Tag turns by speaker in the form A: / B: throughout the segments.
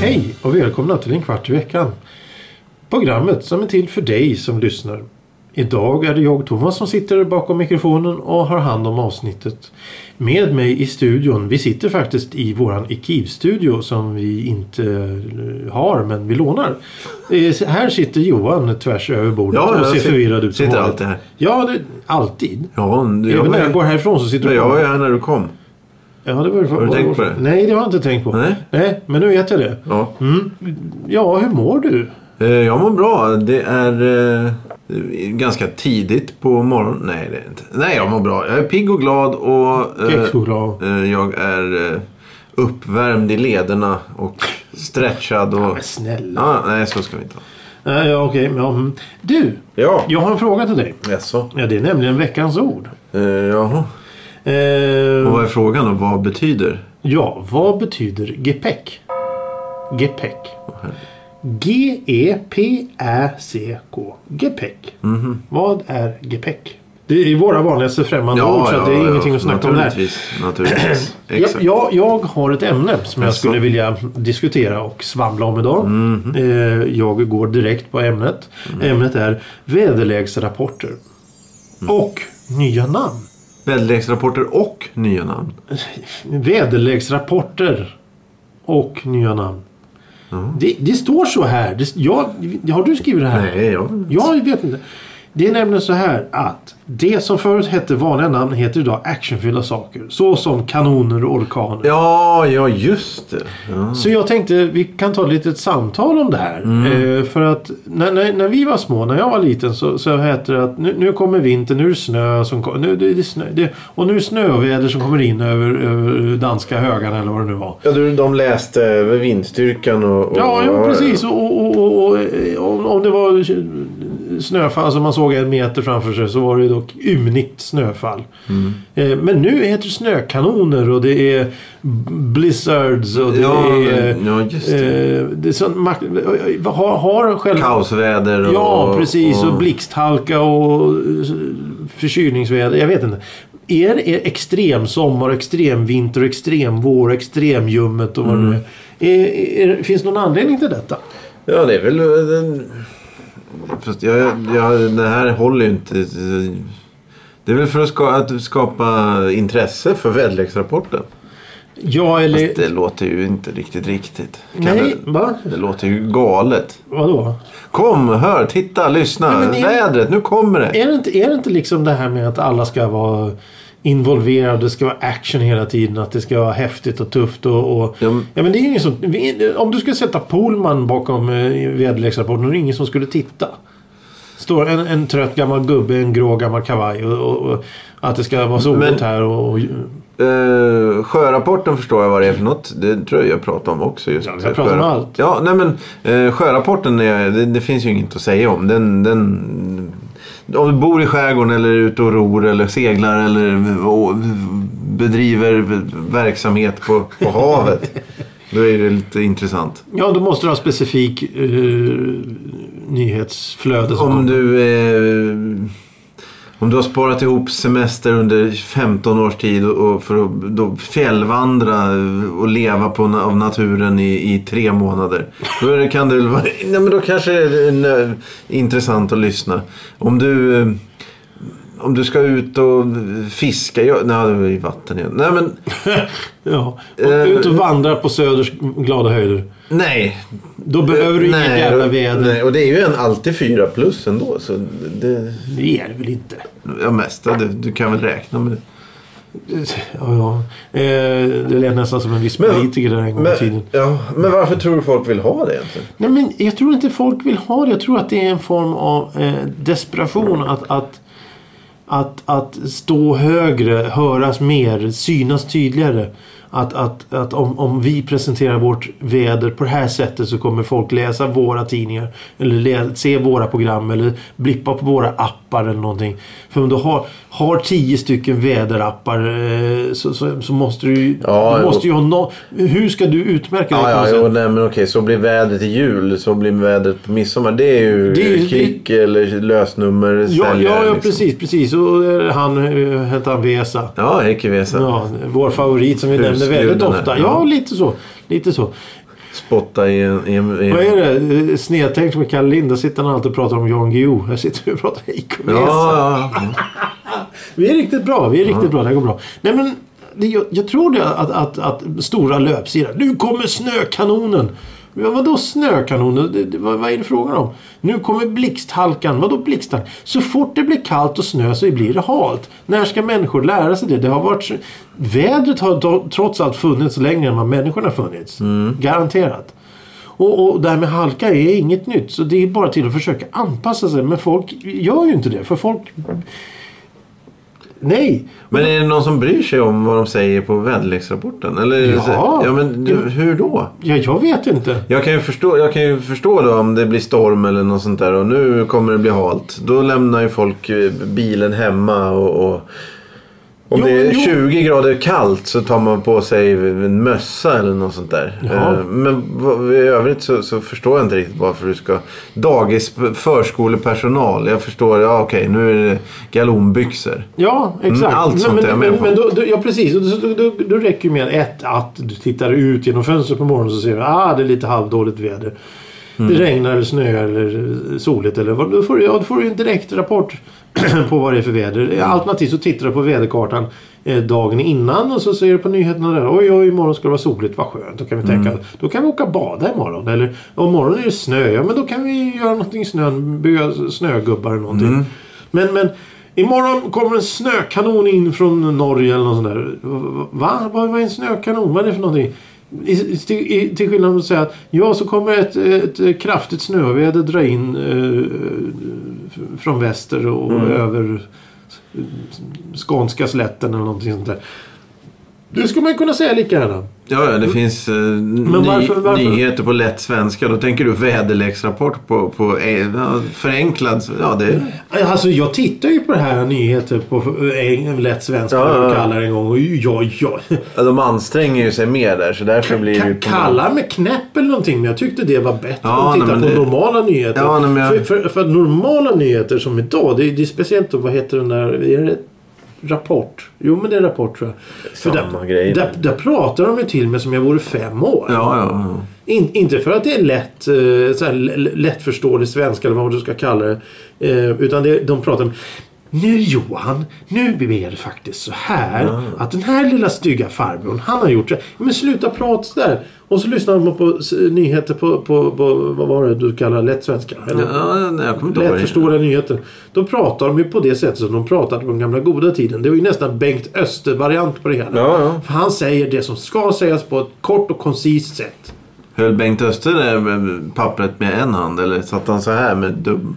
A: Hej och välkomna till en kvart i veckan. Programmet som är till för dig som lyssnar. Idag är det jag Thomas som sitter bakom mikrofonen och har hand om avsnittet. Med mig i studion, vi sitter faktiskt i våran Ekiv-studio som vi inte eh, har men vi lånar. Eh, Här sitter Johan tvärs över bordet
B: Ja,
A: och
B: jag
A: ser
B: sit-
A: förvirrad ut. som
B: sitter
A: vanligt.
B: alltid här.
A: Ja, det, alltid.
B: Ja, du- jag
A: Även
B: var,
A: när jag går härifrån så sitter
B: men
A: du
B: jag
A: kvar.
B: var ju här när du kom.
A: Ja, det var,
B: Har du tänkt på det?
A: Nej, det har jag inte tänkt på.
B: Nej.
A: Nej, men nu vet jag det.
B: Ja.
A: Ja, hur mår du?
B: Eh, Jag mår bra. Det är eh, ganska tidigt på morgonen. Nej, det är inte. Nej, jag mår bra. Jag är pigg och glad och eh,
A: Kexchoklad.
B: eh, jag är eh, uppvärmd i lederna och stretchad. Och...
A: Men snälla.
B: Ja, nej, så ska vi inte ha.
A: Nej, ja, okej. men, ja, mm. Du,
B: Ja,
A: jag har en fråga till dig.
B: jaså.
A: Ja, det är nämligen veckans ord.
B: Eh, Jaha. Och
A: Eh,
B: vad är frågan då? Vad betyder?
A: ja, vad betyder E gepäck? Gepäck. E G-E-P-Ä-C-K. Gepäck. E
B: Mhm.
A: Vad är gepäck? Det är våra vanligaste främmande ord så att det är ingenting att snacka om där.
B: naturligtvis, om där. Naturligtvis.
A: Jag,
B: Exakt.
A: jag, jag har ett ämne som jag
B: Jaså? Mhm.
A: skulle vilja diskutera och svamla om idag. Eh, jag går direkt på ämnet.
B: Mm.
A: Ämnet är väderleksrapporter. Och nya namn.
B: Väderleksrapporter och nya namn.
A: Väderleksrapporter och nya namn.
B: Mm.
A: Det, det står så här. Det, jag, har du skrivit det här?
B: Nej, jag...
A: Jag vet inte. Det är nämligen så här att det som förut hette vanliga namn heter idag actionfyllda saker. Så som kanoner och orkaner.
B: Ja, ja just det. Ja.
A: Så jag tänkte vi kan ta ett litet samtal om det här. Eh, för att när, när, när vi var små, när jag var liten så, så hette det att nu, nu kommer vintern, nu är det snö, som, kom- nu, det, det, är snö det, och nu är det snöväder som kommer in över, över danska högarna eller vad det nu var.
B: Ja, du, de läste över vindstyrkan och... och
A: Ja, jo, precis. Och, och, och, och, och eh, om, om det var snöfall som man såg en meter framför sig så var det dock ymnigt snöfall.
B: Mm.
A: Eh, Men nu heter det snökanoner och det är blizzards och det
B: Ja,
A: är... eh,
B: ja, just det.
A: Eh, det är sån mak- har, har själv...
B: Kaosväder och...
A: Ja, precis. Och
B: och-
A: blixthalka och eh, förkylningsväder. Jag vet inte. Är det extrem sommar, extrem vinter, extrem vår, extremljummet och vad det
B: Mm.
A: nu är. Är- är- Finns det någon anledning till detta?
B: Ja, det är väl... eh, Den... Fast jag, jag, det här håller ju inte. Det är väl för att, ska, att skapa intresse för väderleksrapporten.
A: Ja, eller...
B: Fast det låter ju inte riktigt riktigt. Kan
A: Nej,
B: Det,
A: va?
B: det låter ju galet.
A: Vadå?
B: Kom, hör, titta, lyssna.
A: Nej, men det-
B: Vädret, nu kommer det.
A: Är det, inte, är det inte liksom det här med att alla ska vara involverade, det ska vara action hela tiden, att det ska vara häftigt och tufft och... och
B: Ja, men-
A: Ja men det är ju ingen som... vi- Om du skulle sätta Polman bakom eh, väderleksrapporten, då är det ingen som skulle titta. Står en, en trött gammal gubbe i en grå gammal kavaj och, och, och att det ska vara soligt
B: Men-
A: här och... och
B: Uh, sjörapporten förstår jag vad det är för något. Det tror jag jag pratade om också. Just
A: Ja, vi har pratat om
B: Sjö-
A: allt.
B: Ja, nej men eh, sjörapporten, är, det, det finns ju inget att säga om. Den, den, om du bor i skärgården eller är ute och ror eller seglar eller v- och bedriver verksamhet på, på havet. Då är det lite intressant.
A: ja, då måste du ha specifik eh, nyhetsflöde. som
B: Om
A: kommer.
B: du, eh, om du har sparat ihop semester under 15 års tid och och för att då fjällvandra och leva på, na- av naturen i, i tre månader. Då är det, kan det väl vara, nej men då kanske det är nö- intressant att lyssna. Om du, eh, om du ska ut och fiska, ja, nej det var ju vatten igen. Nej men,
A: Ja. Och
B: Eh,
A: ut och vandra på Söders glada höjder.
B: nej.
A: Då behöver du inget
B: Nej,
A: jävla
B: och-
A: väder.
B: Nej, och det är ju en alltid fyra plus ändå. Så det,
A: Det är det väl inte?
B: ja mesta, du, du kan väl räkna med det.
A: Ja, ja. Eh, det lät nästan som en viss
B: Men-
A: politiker där en gång i tiden.
B: Men, ja, men varför tror du folk vill ha det egentligen?
A: Nej, men jag tror inte folk vill ha det. Jag tror att det är en form av eh, desperation att, att, att, att stå högre, höras mer, synas tydligare. Att, att, att om, om vi presenterar vårt väder på det här sättet så kommer folk läsa våra tidningar. Eller lä- se våra program eller blippa på våra appar eller någonting. För om du har, har tio stycken väderappar eh, så, så, så måste du ju...
B: Ja,
A: du måste ju ha nå- Hur ska du utmärka dig
B: Ja,
A: på något
B: ja,
A: sätt?
B: jo, nej, men okej. Så blir vädret i jul, så blir vädret på midsommar. Det är ju
A: Det är ju-
B: klick eller lösnummer.
A: Ja,
B: säljare,
A: ja, ja
B: liksom.
A: precis, precis. Och eh, han eh, hette han Vesa.
B: Ja, Heikki Vesa.
A: Ja, vår favorit som vi nämner
B: Husguden
A: väldigt
B: där.
A: ofta.
B: Ja.
A: Ja, lite så. Lite så.
B: Spotta i en... I en, i en...
A: Vad är det? Eh, Snedtänkt med Kalle Lind. Där sitter han alltid och pratar om Jan Guillou. Här sitter vi och pratar IK
B: Ja, ja, ja.
A: Vi är riktigt bra. Vi är riktigt bra. Det här går bra. Nej, men det, jag, jag tror det att, att, att stora löpsidor. Nu kommer snökanonen. Ja, vadå snökanonen? Det, det, vad, vad är det frågan om? Nu kommer blixthalkan. Vadå blixthalkan? Så fort det blir kallt och snö så blir det halt. När ska människor lära sig det? det har varit, så- vädret har do- trots allt funnits längre än vad människorna har funnits. Garanterat. Och, och det här med halka är inget nytt. Så det är bara till att försöka anpassa sig. Men folk gör ju inte det. För folk... Nej.
B: Men är det någon som bryr sig om vad de säger på väderleksrapporten? Eller är det
A: Ja.
B: så- ja men du, hur då?
A: Ja, jag vet inte.
B: Jag kan, ju förstå, jag kan ju förstå då om det blir storm eller något sånt där och nu kommer det bli halt. Då lämnar ju folk eh, bilen hemma och... och om
A: Jo,
B: det är
A: jo.
B: 20 grader kallt så tar man på sig en mössa eller något sånt där.
A: Ja.
B: Eh, Men vad- i övrigt så, så förstår jag inte riktigt varför du ska... Dagis, förskolepersonal. Jag förstår, ja okej nu är det galonbyxor.
A: Ja, exakt.
B: Mm, allt sånt är
A: men,
B: jag med
A: men,
B: på.
A: men då, då, Ja, precis. Och Då, då, då, då räcker ju med ett att du tittar ut genom fönstret på morgonen så ser du ah, det är lite halvdåligt väder.
B: Mm.
A: Det regnar eller snöar eller soligt. Eller, vad- då, får du, ja, då får du en direkt rapport på vad det är för väder.
B: Mm.
A: Alternativt så tittar du på väderkartan eh, dagen innan och så ser du på nyheterna där. Oj, oj, imorgon ska det vara soligt. Vad skönt. Då kan vi
B: Mm.
A: tänka då kan vi åka och bada imorgon. Eller om morgonen är det snö. Ja, men då kan vi göra någonting i snön. Bygga snögubbar eller någonting.
B: Mm.
A: Men, men imorgon kommer en snökanon in från Norge eller något sånt där. Va? Vad vad är en snökanon? Vad är det för någonting? I, i, i- till skillnad från att säga att ja, så kommer ett, ett kraftigt snöväder dra in eh, från väster och
B: Mm.
A: över skånska slätten eller någonting sånt där. Det skulle man ju kunna säga lika gärna.
B: Ja, ja, det finns eh, ny,
A: Mm. varför- varför?
B: nyheter på lätt svenska. Då tänker du väderleksrapport på, på eh, ja, förenklad. Ja, det,
A: Alltså jag tittar ju på det här nyheter på eh, lätt svenska,
B: Ja, ja, ja.
A: ja, kallar det en gång. Och ja, ja.
B: ja, de anstränger ju sig mer där så därför blir det... ju
A: Ka-
B: på-
A: kalla med knäpp eller någonting. Men jag tyckte det var bättre
B: Ja,
A: att
B: nej,
A: titta
B: men
A: på
B: det-
A: normala nyheter.
B: Ja, nej, men jag-
A: för, för, för att normala nyheter som idag. Det är, det är speciellt då, vad heter den där... Är det Rapport? Jo men det är Rapport tror jag. För
B: Samma
A: där,
B: grej.
A: Där, där pratar de ju till mig som jag vore fem år.
B: Ja, ja, ja.
A: In, inte för att det är lätt, eh, så här, l- l- lättförståelig svenska eller vad du ska kalla det. Eh, utan det, de pratar om nu Johan, nu är det faktiskt så här
B: Ah.
A: att den här lilla stygga farbrorn, han har gjort det. Ja, Men sluta prata sådär. Och så lyssnar man på s- nyheter på, på, på vad var det du kallar lätt svenska? Eller?
B: ja nej, jag kommer inte ihåg vad det.
A: Lättförståeliga nyheter. Då pratar de ju på det sättet som de pratade på den gamla goda tiden. Det var ju nästan Bengt Öster-variant på det hela.
B: Ja, ja.
A: För han säger det som ska sägas på ett kort och koncist sätt.
B: Höll Bengt Öster det med pappret med en hand eller satt han så här med dubb?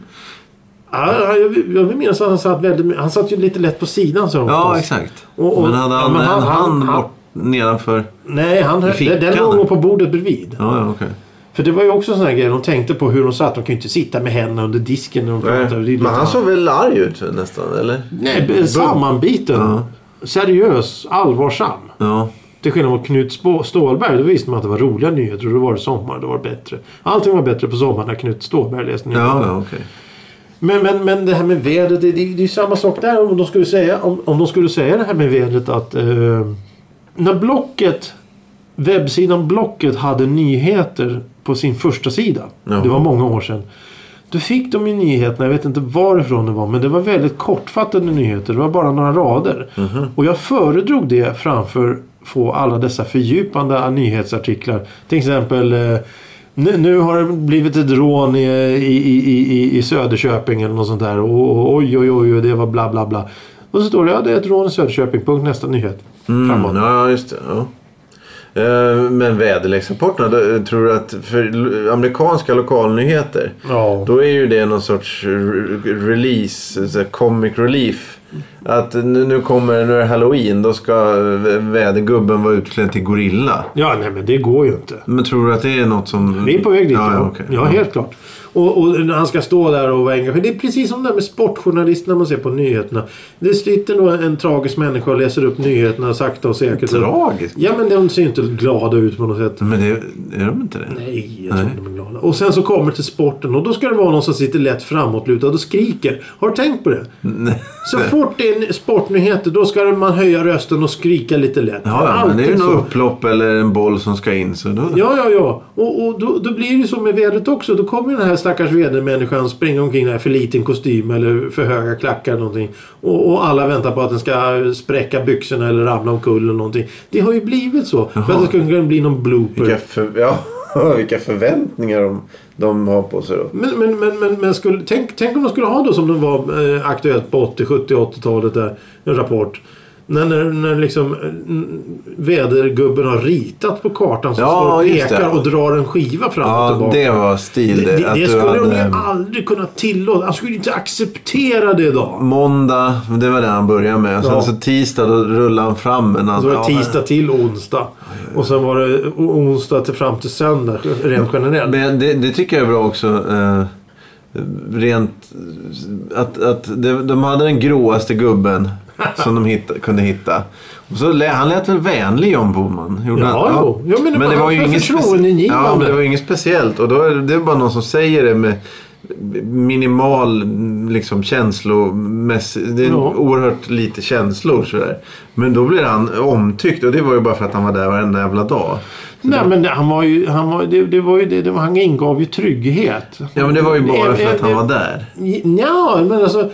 A: Ja, ja, jag, vill- jag vill minnas att han satt väldigt my- Han satt ju lite lätt på sidan så
B: Ja, exakt.
A: Och- och-
B: men hade
A: ja,
B: han
A: men
B: en
A: han-
B: hand
A: han-
B: bort nedanför?
A: Nej, han höll,
B: fickan.
A: den den låg nog på bordet bredvid.
B: Ja, ja, okej.
A: För det var ju också en sån här grej. De tänkte på hur de satt. De kan ju inte sitta med händerna under disken när de pratade. Det är lite-
B: Men han såg väl arg ut nästan, eller?
A: Nej, b- sammanbiten. Seriös, allvarsam.
B: Ja.
A: Till skillnad mot Knut Spå- Ståhlberg, då visste man att det var roliga nyheter och då var det sommar, då var det bättre. Allting var bättre på sommaren när Knut Ståhlberg läste nyheter.
B: Ja, ja, okej.
A: Men, men, men det här med vädret, det, det, det är ju samma sak där. Om de skulle säga, om, om de skulle säga det här med vädret att eh, när Blocket, webbsidan Blocket hade nyheter på sin första sida.
B: Ja.
A: Det var många år sedan. Då fick de ju nyheterna, jag vet inte varifrån det var, men det var väldigt kortfattade nyheter. Det var bara några rader.
B: Mhm.
A: Och jag föredrog det framför få alla dessa fördjupande nyhetsartiklar. Till exempel eh, nu, nu har det blivit ett rån i, i, i, i, i Söderköping eller något sånt där. Och, och, oj, oj, oj, och det var bla, bla, bla. Och så står det, ja det är ett rån i Söderköping. Punkt, nästa nyhet. Framåt.
B: Mm, ja, just det. Ja. Eh, Men väderleksrapporterna, då, eh, tror du att för l- amerikanska lokalnyheter
A: Ja.
B: då är ju det någon sorts r- release, så här comic relief. Att nu, nu kommer nu är det halloween, då ska vä- vädergubben vara utklädd till gorilla.
A: Ja, nej men det går ju inte.
B: Men tror du att det är något som...
A: Vi är på väg dit.
B: Ja,
A: ja.
B: ja, okej.
A: ja helt klart. Och, och när han ska stå där och vara engagerad. Det är precis som det här med sportjournalisterna man ser på nyheterna. Det sitter då en tragisk människa och läser upp nyheterna sakta och säkert.
B: Tragiskt.
A: Ja, men de ser ju inte glada ut på något sätt.
B: Men det, är de inte det?
A: Nej, jag tror inte de är glada. Och sen så kommer det till sporten och då ska det vara någon som sitter lätt framåtlutad och skriker. Har du tänkt på det? Så fort det är en sportnyheter då ska man höja rösten och skrika lite lätt.
B: Ja, ja, men det är ju
A: Alltid så.
B: något upplopp eller en boll som ska in. Så då...
A: Ja, ja, ja. Och, och då, då blir det ju så med vädret också. Då kommer ju den här stackars vädermänniskan springa omkring där för liten kostym eller för höga klackar eller någonting. Och, och alla väntar på att den ska spräcka byxorna eller ramla omkull eller någonting. Det har ju blivit så. För att det ska kunna bli någon blooper.
B: Vilka, för... ja, vilka förväntningar de, de har på sig då.
A: Men, men, men, men, men skulle, tänk, tänk om de skulle ha då som de var eh, aktuellt på 80, 70, 80-talet där. En rapport. När, när, när liksom eh, n- vädergubben har ritat på kartan som
B: Ja,
A: står och
B: just det.
A: pekar och drar en skiva fram och
B: Ja,
A: tillbaka.
B: det var stil
A: Det,
B: det.
A: det,
B: att
A: det
B: du
A: skulle de
B: hade-
A: ju aldrig kunna tillåta. Han skulle ju inte acceptera det idag.
B: Måndag, det var det han började med. Och sen
A: Ja.
B: så tisdag, då rullade han fram en
A: Så
B: annan.
A: var det
B: Ja,
A: tisdag till onsdag. Och sen var det o- onsdag till fram till söndag rent generellt.
B: Men det, det tycker jag är bra också. Eh, rent... Att, att det, de hade den gråaste gubben som de hitta, kunde hitta. Och så, lä- han lät väl vänlig John Boman? Gjorde
A: Ja,
B: han?
A: jo. Ja, men det var- han var
B: speci-
A: förtroendeingivande.
B: Ja, men det var inget speciellt. Och då är det, det är bara någon som säger det med minimal liksom, känslomässig... Det är
A: Ja.
B: oerhört lite känslor sådär. Men då blir han omtyckt och det var ju bara för att han var där varenda jävla dag.
A: Nej men det- han var ju, han var, det, det var ju det, det, var- han ingav ju trygghet.
B: Ja, men det var ju bara
A: Ä-
B: för
A: ä-
B: att han var där.
A: Ja, men alltså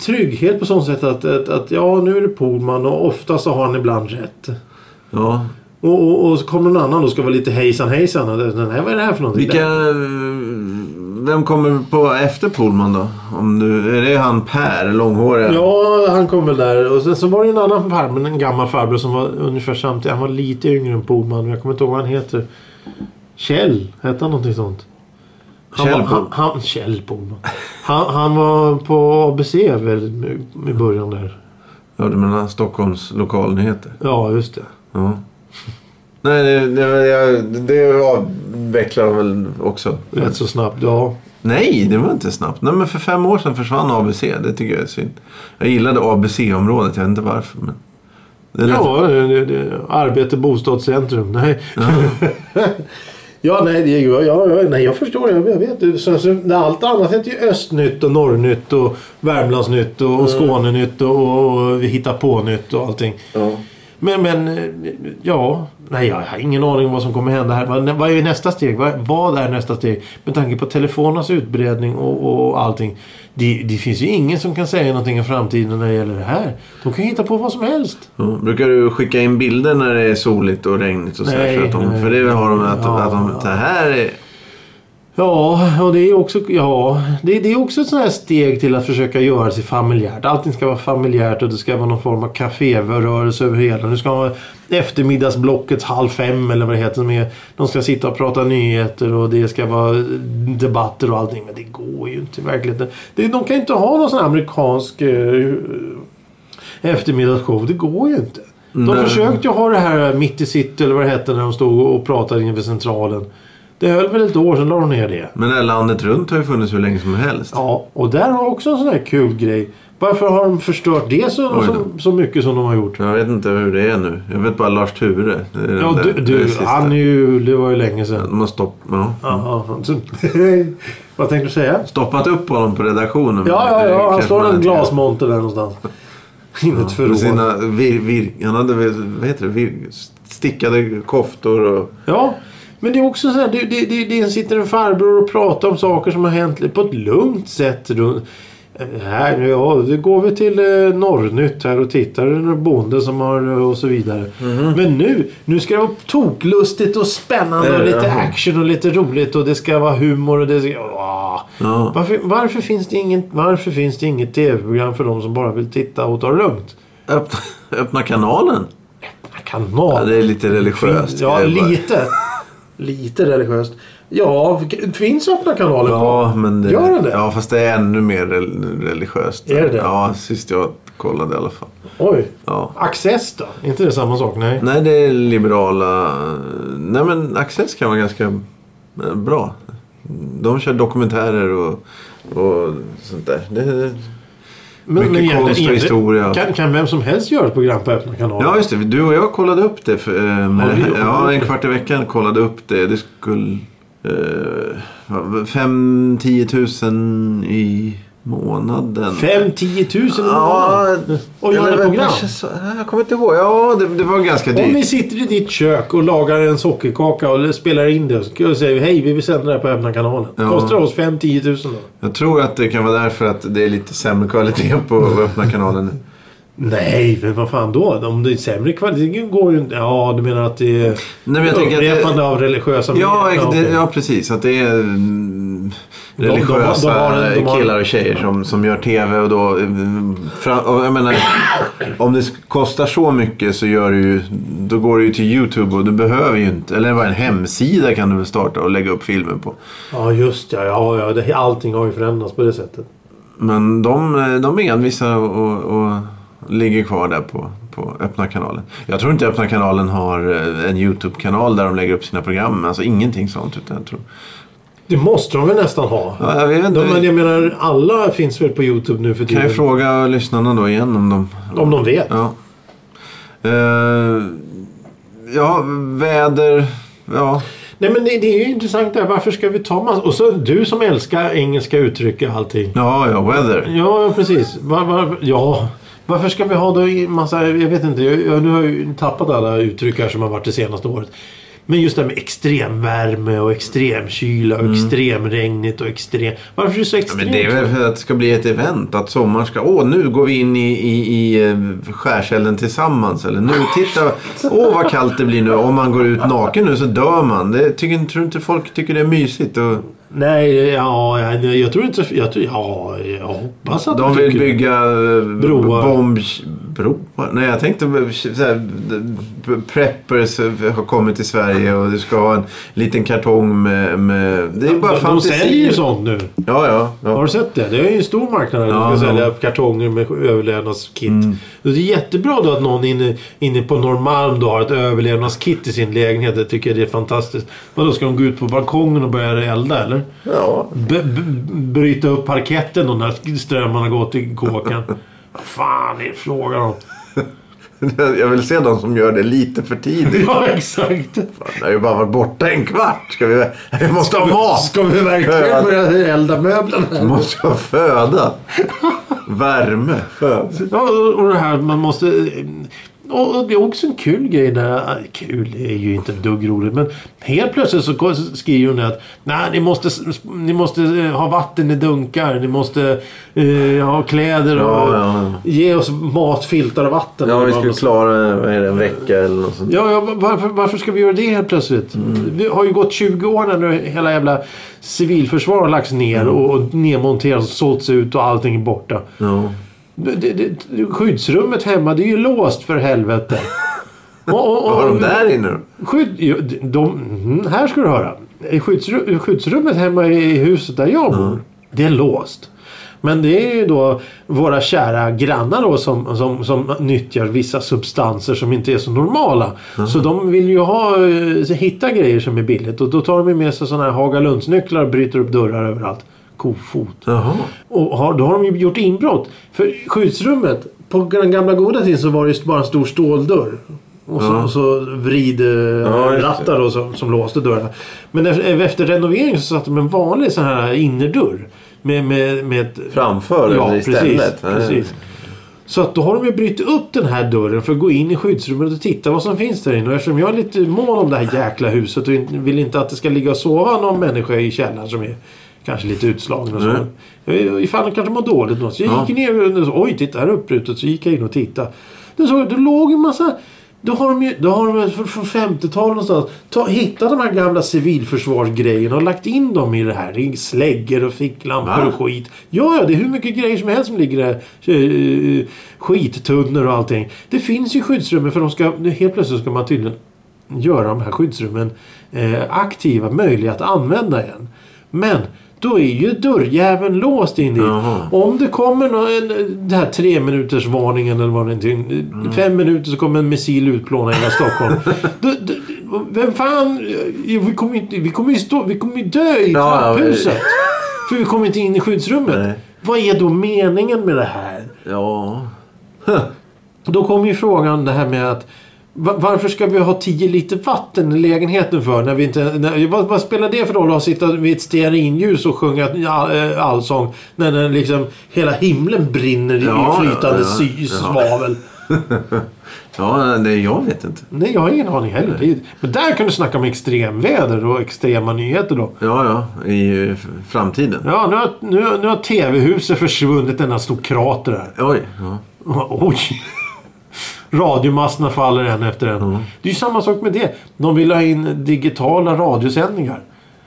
A: trygghet på sånt sätt att, att, att ja nu är det Polman och ofta så har han ibland rätt.
B: Ja.
A: Och, och, och så kommer någon annan och ska vara lite hejsan hejsan. Och det- Nej, vad är det här för någonting?
B: Vilka... eh, Vem kommer på efter Pullman då? Om du, är det han Per, långhåriga?
A: Ja, han kom väl där. Och sen så var det en annan farbror, en gammal farbror som var ungefär samtidigt. Han var lite yngre än Boman, men jag kommer inte ihåg vad han heter. Kjell, hette han någonting sånt? Han
B: Kjell
A: var, han,
B: Boman.
A: han, Kjell Boman. Han, han var på ABC väl i- i början där.
B: Ja, du menar Stockholms lokalnyheter?
A: Ja, just det.
B: Ja. Nej, det, det, jag- det avvecklar de väl också.
A: Rätt så snabbt, ja.
B: Nej, det var inte snabbt. Nej, men för fem år sedan försvann ABC. Det tycker jag är synd. Jag gillade ABC-området, jag vet inte varför. Men det lät-
A: Ja, det, det, det, arbete, bostadscentrum. Nej. Ja, nej, det, ja, ja, nej, jag förstår det. Jag vet. det. Sen, så, när allt annat heter ju Östnytt och Norrnytt och Värmlandsnytt och, och Skånenytt och, och vi hittar på nytt och allting.
B: Ja.
A: Men, men eh, ja. Nej, jag har ingen aning om vad som kommer hända här. Vad, vad är nästa steg? Vad, vad är nästa steg? Med tanke på telefonernas utbredning och, och allting. Det, det finns ju ingen som kan säga någonting om framtiden när det gäller det här. De kan ju hitta på vad som helst.
B: Ja, brukar du skicka in bilder när det är soligt och regnigt och så här,
A: Nej,
B: för, att de,
A: nej.
B: för det har de att,
A: Ja,
B: att de,
A: ja.
B: det här är...
A: Ja, och det är också, ja, det, det är också ett sånt här steg till att försöka göra sig familjärt. Allting ska vara familjärt och det ska vara någon form av kaférörelse över hela. Nu ska man ha eftermiddagsblocket halv fem eller vad det heter. Som är, de ska sitta och prata nyheter och det ska vara debatter och allting. Men det går ju inte i verkligheten. Det, de kan ju inte ha någon sån här amerikansk eh, eftermiddagsshow. Det går ju inte. De
B: Nej.
A: försökte ju ha det här mitt i sitt eller vad det hette när de stod och pratade inför centralen. Det höll väl ett år, sen la de ner det.
B: Men det här landet runt har ju funnits hur länge som helst.
A: Ja, och där har också en sån här kul grej. Varför har de förstört det så,
B: Oj då.
A: så, så mycket som de har gjort?
B: Jag vet inte hur det är nu. Jag vet bara Lars Ture. Det är den
A: Ja, du,
B: där- det är eh, det
A: du
B: sista.
A: han är ju... Det var ju länge sedan.
B: De har stopp, ja.
A: Jaha, han- så- Vad tänkte du säga?
B: stoppat upp honom på redaktionen.
A: Ja,
B: men
A: ja,
B: det
A: ja. Han
B: kanske
A: står
B: man
A: i en
B: inte gör.
A: glasmonter där någonstans. Inuti ett
B: Med
A: förråd.
B: sina vir, vir, han hade, väl- vad heter det, vir, stickade koftor och...
A: Ja, men det är också så här. Det, det, det, det sitter en farbror och pratar om saker som har hänt på ett lugnt sätt. runt- Eh, Här, nu, ja, då går vi till eh, Norrnytt här och tittar. Det är någon bonde som har eh, och så vidare.
B: Mhm.
A: Men nu, nu ska det vara toklustigt och spännande och
B: Eh,
A: lite
B: jaha.
A: action och lite roligt och det ska vara humor och det ska... Åh.
B: Ja.
A: Varför, varför, finns det inget, varför finns det inget tv-program för de som bara vill titta och ta det lugnt?
B: Öppna, öppna kanalen.
A: Kanal!
B: Ja, det är lite religiöst.
A: Ja,
B: Det är bara-
A: lite. Lite religiöst. Ja, f- finns öppna kanaler på?
B: Ja, men det,
A: Gör den det?
B: Ja, fast det är ännu mer rel- religiöst.
A: Är det det?
B: Ja, sist jag kollade i alla fall.
A: Oj!
B: Ja.
A: Access då? Är inte det samma sak? Nej.
B: Nej, det är liberala... Nej, men Access kan vara ganska eh, bra. De kör dokumentärer och, och sånt där. Det, Mycket
A: egentligen-
B: konst och
A: egentligen-
B: historia.
A: Kan, kan vem som helst göra ett program på öppna kanaler?
B: ja, just det. Du och jag kollade upp det. För, eh,
A: vi gjorde
B: ja,
A: det.
B: en kvart i veckan kollade upp det. Det skulle... Eh, 5-10 000 i månaden.
A: 5 10 000 i
B: Ja,
A: månaden. Och göra
B: eller
A: ett
B: det
A: program.
B: kanske så- nej, Jag kommer inte ihåg. Ja, det, det var ganska
A: Om
B: dyrt.
A: vi sitter i ditt kök och lagar en sockerkaka och spelar in det och säger hej, vi vill sända det här på öppna kanalen.
B: Ja.
A: Kostar det oss 5 10 000 då?
B: Jag tror att det kan vara därför att det är lite sämre kvalitet på öppna kanalen. nu.
A: Nej, men vad fan då? Om det är sämre kvalitet går ju inte... Ja, du menar att det är
B: Nej, men jag tänker att det-
A: upprepande av religiösa...
B: Ja,
A: medier?
B: det,
A: okej.
B: ja precis. Att det är mm,
A: de har-
B: religiösa
A: de har en- de har-
B: killar och tjejer som, som gör tv. Och då, mm, fram, och jag menar, om det sk- kostar så mycket så gör du ju, då går du ju till YouTube och du behöver ju inte. Eller bara en hemsida kan du väl starta och lägga upp filmen på.
A: ja, just det. Ja, ja, det. Allting har ju förändrats på det sättet.
B: Men de, eh, de är envisa och, och, och ligger kvar där på, på öppna kanalen. Jag tror inte öppna kanalen har eh, en YouTube-kanal där de lägger upp sina program. Alltså ingenting sånt. Utan jag tror,
A: Det måste de väl nästan ha?
B: ja, jag vet inte.
A: De, men jag menar, alla finns väl på YouTube nu för
B: Kan
A: tiden?
B: jag fråga lyssnarna då igen om de...
A: Om de vet.
B: Ja. Eh, ja, väder... Ja.
A: Nej men det, det är ju intressant där. Varför ska vi ta massa... Och så du som älskar engelska uttryck och allting.
B: Ja, ja, weather.
A: Ja, ja precis. Var, var, ja. Varför ska vi ha då i massa... Jag vet inte. Jag, jag, nu har jag ju tappat alla uttryck här som har varit det senaste året. Men just det här med extremvärme och extremkyla och extremregnigt och extrem... Varför är det så
B: Mm. Ja,
A: extremt?
B: men det är väl för att det ska bli ett event. Att sommaren ska... Åh, nu går vi in i, i, i eh, skärselden tillsammans. Eller nu, titta. Åh, vad kallt det blir nu. Om man går ut naken nu så dör man. Det, tycker, tror du inte folk tycker det är mysigt? Och
A: Nej, ja, jag, jag tror inte... Jag, tror, ja, jag hoppas att
B: de
A: du
B: vill
A: tycker-
B: bygga
A: Broar.
B: broar. bomb... Broar? Nej, jag tänkte så här, preppers har kommit till Sverige och du ska ha en liten kartong med... med det är bara
A: de, de
B: fantasier.
A: säljer ju sånt nu.
B: Ja, ja.
A: Har
B: ja.
A: du sett det? Det är ju en stor marknad där
B: Ja,
A: de ska
B: ja. Mm.
A: sälja kartonger med överlevnadskit. Det är jättebra då att någon inne, inne på Norrmalm då har ett överlevnadskit i sin lägenhet. Jag tycker det är fantastiskt. Vadå, ska de gå ut på balkongen och börja elda eller?
B: ja.
A: B- b- bryta upp parketten då när strömmen har gått i kåkan? Vad fan är det frågan om?
B: Jag vill se de som gör det lite för tidigt.
A: Ja, exakt.
B: Jag har ju bara varit borta en kvart. Ska vi, vi måste ha mat!
A: Ska vi verkligen börja elda möblerna?
B: Vi måste ha föda. Värme. Föda.
A: Ja, och- och det här man måste... eh, Och och det är också en kul grej där. Kul är ju inte ett dugg roligt men helt plötsligt så ko- skriver hon att Nej, ni måste, ni måste eh, ha vatten i dunkar. Ni måste eh, ha kläder och
B: Ja, ja,
A: ge oss mat, filtar och vatten.
B: Ja, vi skulle klara vad är det, en vecka eller något sånt.
A: Ja, ja, varför, varför ska vi göra det helt plötsligt?
B: Mm.
A: Det har ju gått 20 år när nu hela jävla civilförsvar har lagts ner
B: Mm.
A: och, och nedmonterats och sålts ut och allting är borta.
B: Ja.
A: Det, det, det, skyddsrummet hemma, det är ju låst för helvete. Och, och, och,
B: Vad har de där inne då?
A: Skydd, jo, de, de, mm, här ska du höra. I Skyddsru, skyddsrummet hemma i huset där jag bor, det är låst. Men det är ju då våra kära grannar då som, som, som nyttjar vissa substanser som inte är så normala. Så de vill ju ha, eh, hitta grejer som är billigt och då tar de ju med sig sådana här Hagalundsnycklar och bryter upp dörrar överallt. Kofot.
B: Jaha.
A: Och har, då har de ju gjort inbrott. För skyddsrummet, på den gamla goda tiden så var det ju bara en stor ståldörr. Och så, och så vrid eh,
B: just det.
A: rattar då som, som låste dörrarna. Men efter, efter renoveringen så satte de en vanlig sån här innerdörr. Med, med, med ett,
B: Framför
A: Ja,
B: eller
A: precis,
B: istället?
A: precis. så att då har de ju brutit upp den här dörren för att gå in i skyddsrummet och titta vad som finns där inne. Och eftersom jag är lite mån om det här jäkla huset och inte- vill inte att det ska ligga och sova någon människa i källaren som är kanske lite utslagen och så.
B: Mm.
A: Mm. Ifall de kanske mår dåligt något. Så jag
B: Ja.
A: gick ner och så, oj titta här är uppbrutet. Så gick jag in och tittade. Då såg jag, det låg en massa då har de ju, då har de från från 50-talet någonstans ta, hittat de här gamla civilförsvarsgrejerna och lagt in dem i det här. I släggor och ficklampor
B: Va?
A: och skit. Ja, ja, det är hur mycket grejer som helst som ligger där. Eh, Skittunnor och allting. Det finns ju skyddsrummen för de ska, helt plötsligt ska man tydligen göra de här skyddsrummen eh, aktiva, möjliga att använda igen. Men då är ju dörrjäveln låst in dit.
B: Jaha.
A: Om det kommer nå- en, den här tre minuters varningen eller vad det är. Mm. Fem minuter så kommer en missil utplåna hela Stockholm. du, du, vem fan... eh, Vi kommer, inte, vi, kommer ju stå, vi kommer ju dö i
B: Ja, ja,
A: trapphuset. För vi kommer inte in i skyddsrummet.
B: Nej.
A: Vad är då meningen med det här?
B: Eh, Ja.
A: Då kommer ju frågan det här med att va- varför ska vi ha 10 liter vatten i lägenheten för? När vi inte, när, vad, vad spelar det för roll att sitta vid ett stearinljus och sjunga all, eh, allsång när den liksom, hela himlen brinner
B: Ja,
A: i flytande
B: ja, ja,
A: sy,
B: ja.
A: svavel?
B: Ja, nej, jag vet inte.
A: Nej, jag har ingen aning heller. Det är- Men där kan du snacka om extremväder och extrema nyheter då.
B: Ja, ja. I eh, framtiden.
A: Ja, nu har, nu, nu har TV-huset försvunnit, denna stor krater där.
B: Oj. Ja.
A: Oj! Radiomasterna faller en efter en.
B: Mm.
A: Det är ju samma sak med det. De vill ha in digitala radiosändningar.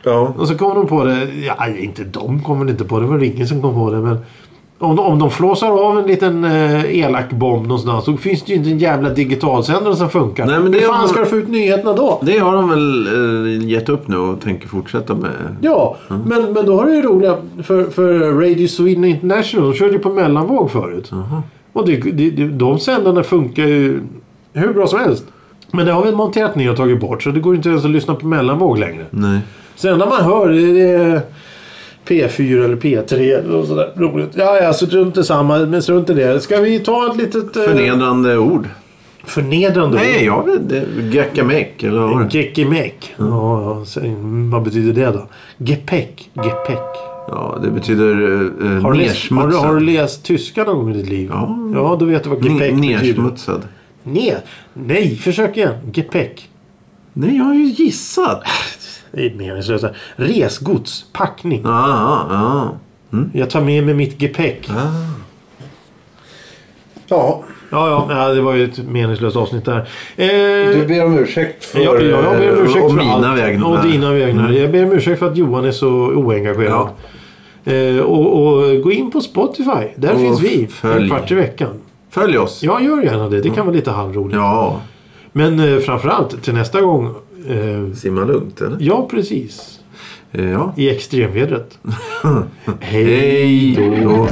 B: ja.
A: Och så kommer de på det. Ja, inte de kommer väl inte på det. Det var väl ingen som kom på det. Men om de, om de flåsar av en liten eh, elak bomb någonstans. Så finns det ju inte en jävla digitalsändare som funkar.
B: Nej, men det
A: Hur
B: är-
A: fan ska du få ut nyheterna då?
B: Det har de väl eh, gett upp nu och tänker fortsätta med.
A: Ja, men, men då har det ju roliga för, för Radio Sweden International. De körde ju på mellanvåg förut. Och det, det, det, de sändarna funkar ju hur bra som helst. Men det har vi monterat ner och tagit bort så det går inte ens att lyssna på mellanvåg längre.
B: Nej.
A: Så enda man hör det är P4 eller P3 eller något sådär roligt. Ja, ja, så strunt i samma, men strunt i det. Ska vi ta ett litet... eh,
B: Förnedrande ord.
A: förnedrande
B: Nej, jag vet inte. Gackameck eller vad var det?
A: Gekimek. Ja, ja, så- mm, vad betyder det då? Gepäck. Gepäck.
B: Ja, det betyder eh,
A: Har du, läst, har, du, har du
B: nersmutsad.
A: läst tyska någon gång i ditt liv?
B: Ja.
A: ja då vet du vad gepäck
B: Ne-
A: betyder.
B: Nersmutsad.
A: Ner. Nej, försök igen. Gepäck.
B: Nej, jag har ju gissat.
A: Det är meningslöst. Resgods. Packning.
B: Ah, ah, ah.
A: Jag tar med mig mitt gepäck. Ja.
B: Ja.
A: Ja, ja, det var ju ett meningslöst avsnitt där. Eh,
B: ber om ursäkt för...
A: jag, jag, jag ber om ursäkt
B: eh, och
A: för
B: mina
A: allt.
B: vägnar. Mm.
A: Och dina eh, vägnar. Jag ber om ursäkt för att Johan är så oengagerad. Eh, och, och gå in på Spotify. Där
B: Och
A: finns vi. En
B: följ.
A: kvart i veckan.
B: Följ oss.
A: Ja, gör gärna det. Det kan vara lite halvroligt.
B: Ja.
A: Men eh, framförallt till nästa gång. Eh,
B: Simma lugnt, eller?
A: ja, precis.
B: Eh, Ja.
A: I extremvädret. Hej
B: Hej då.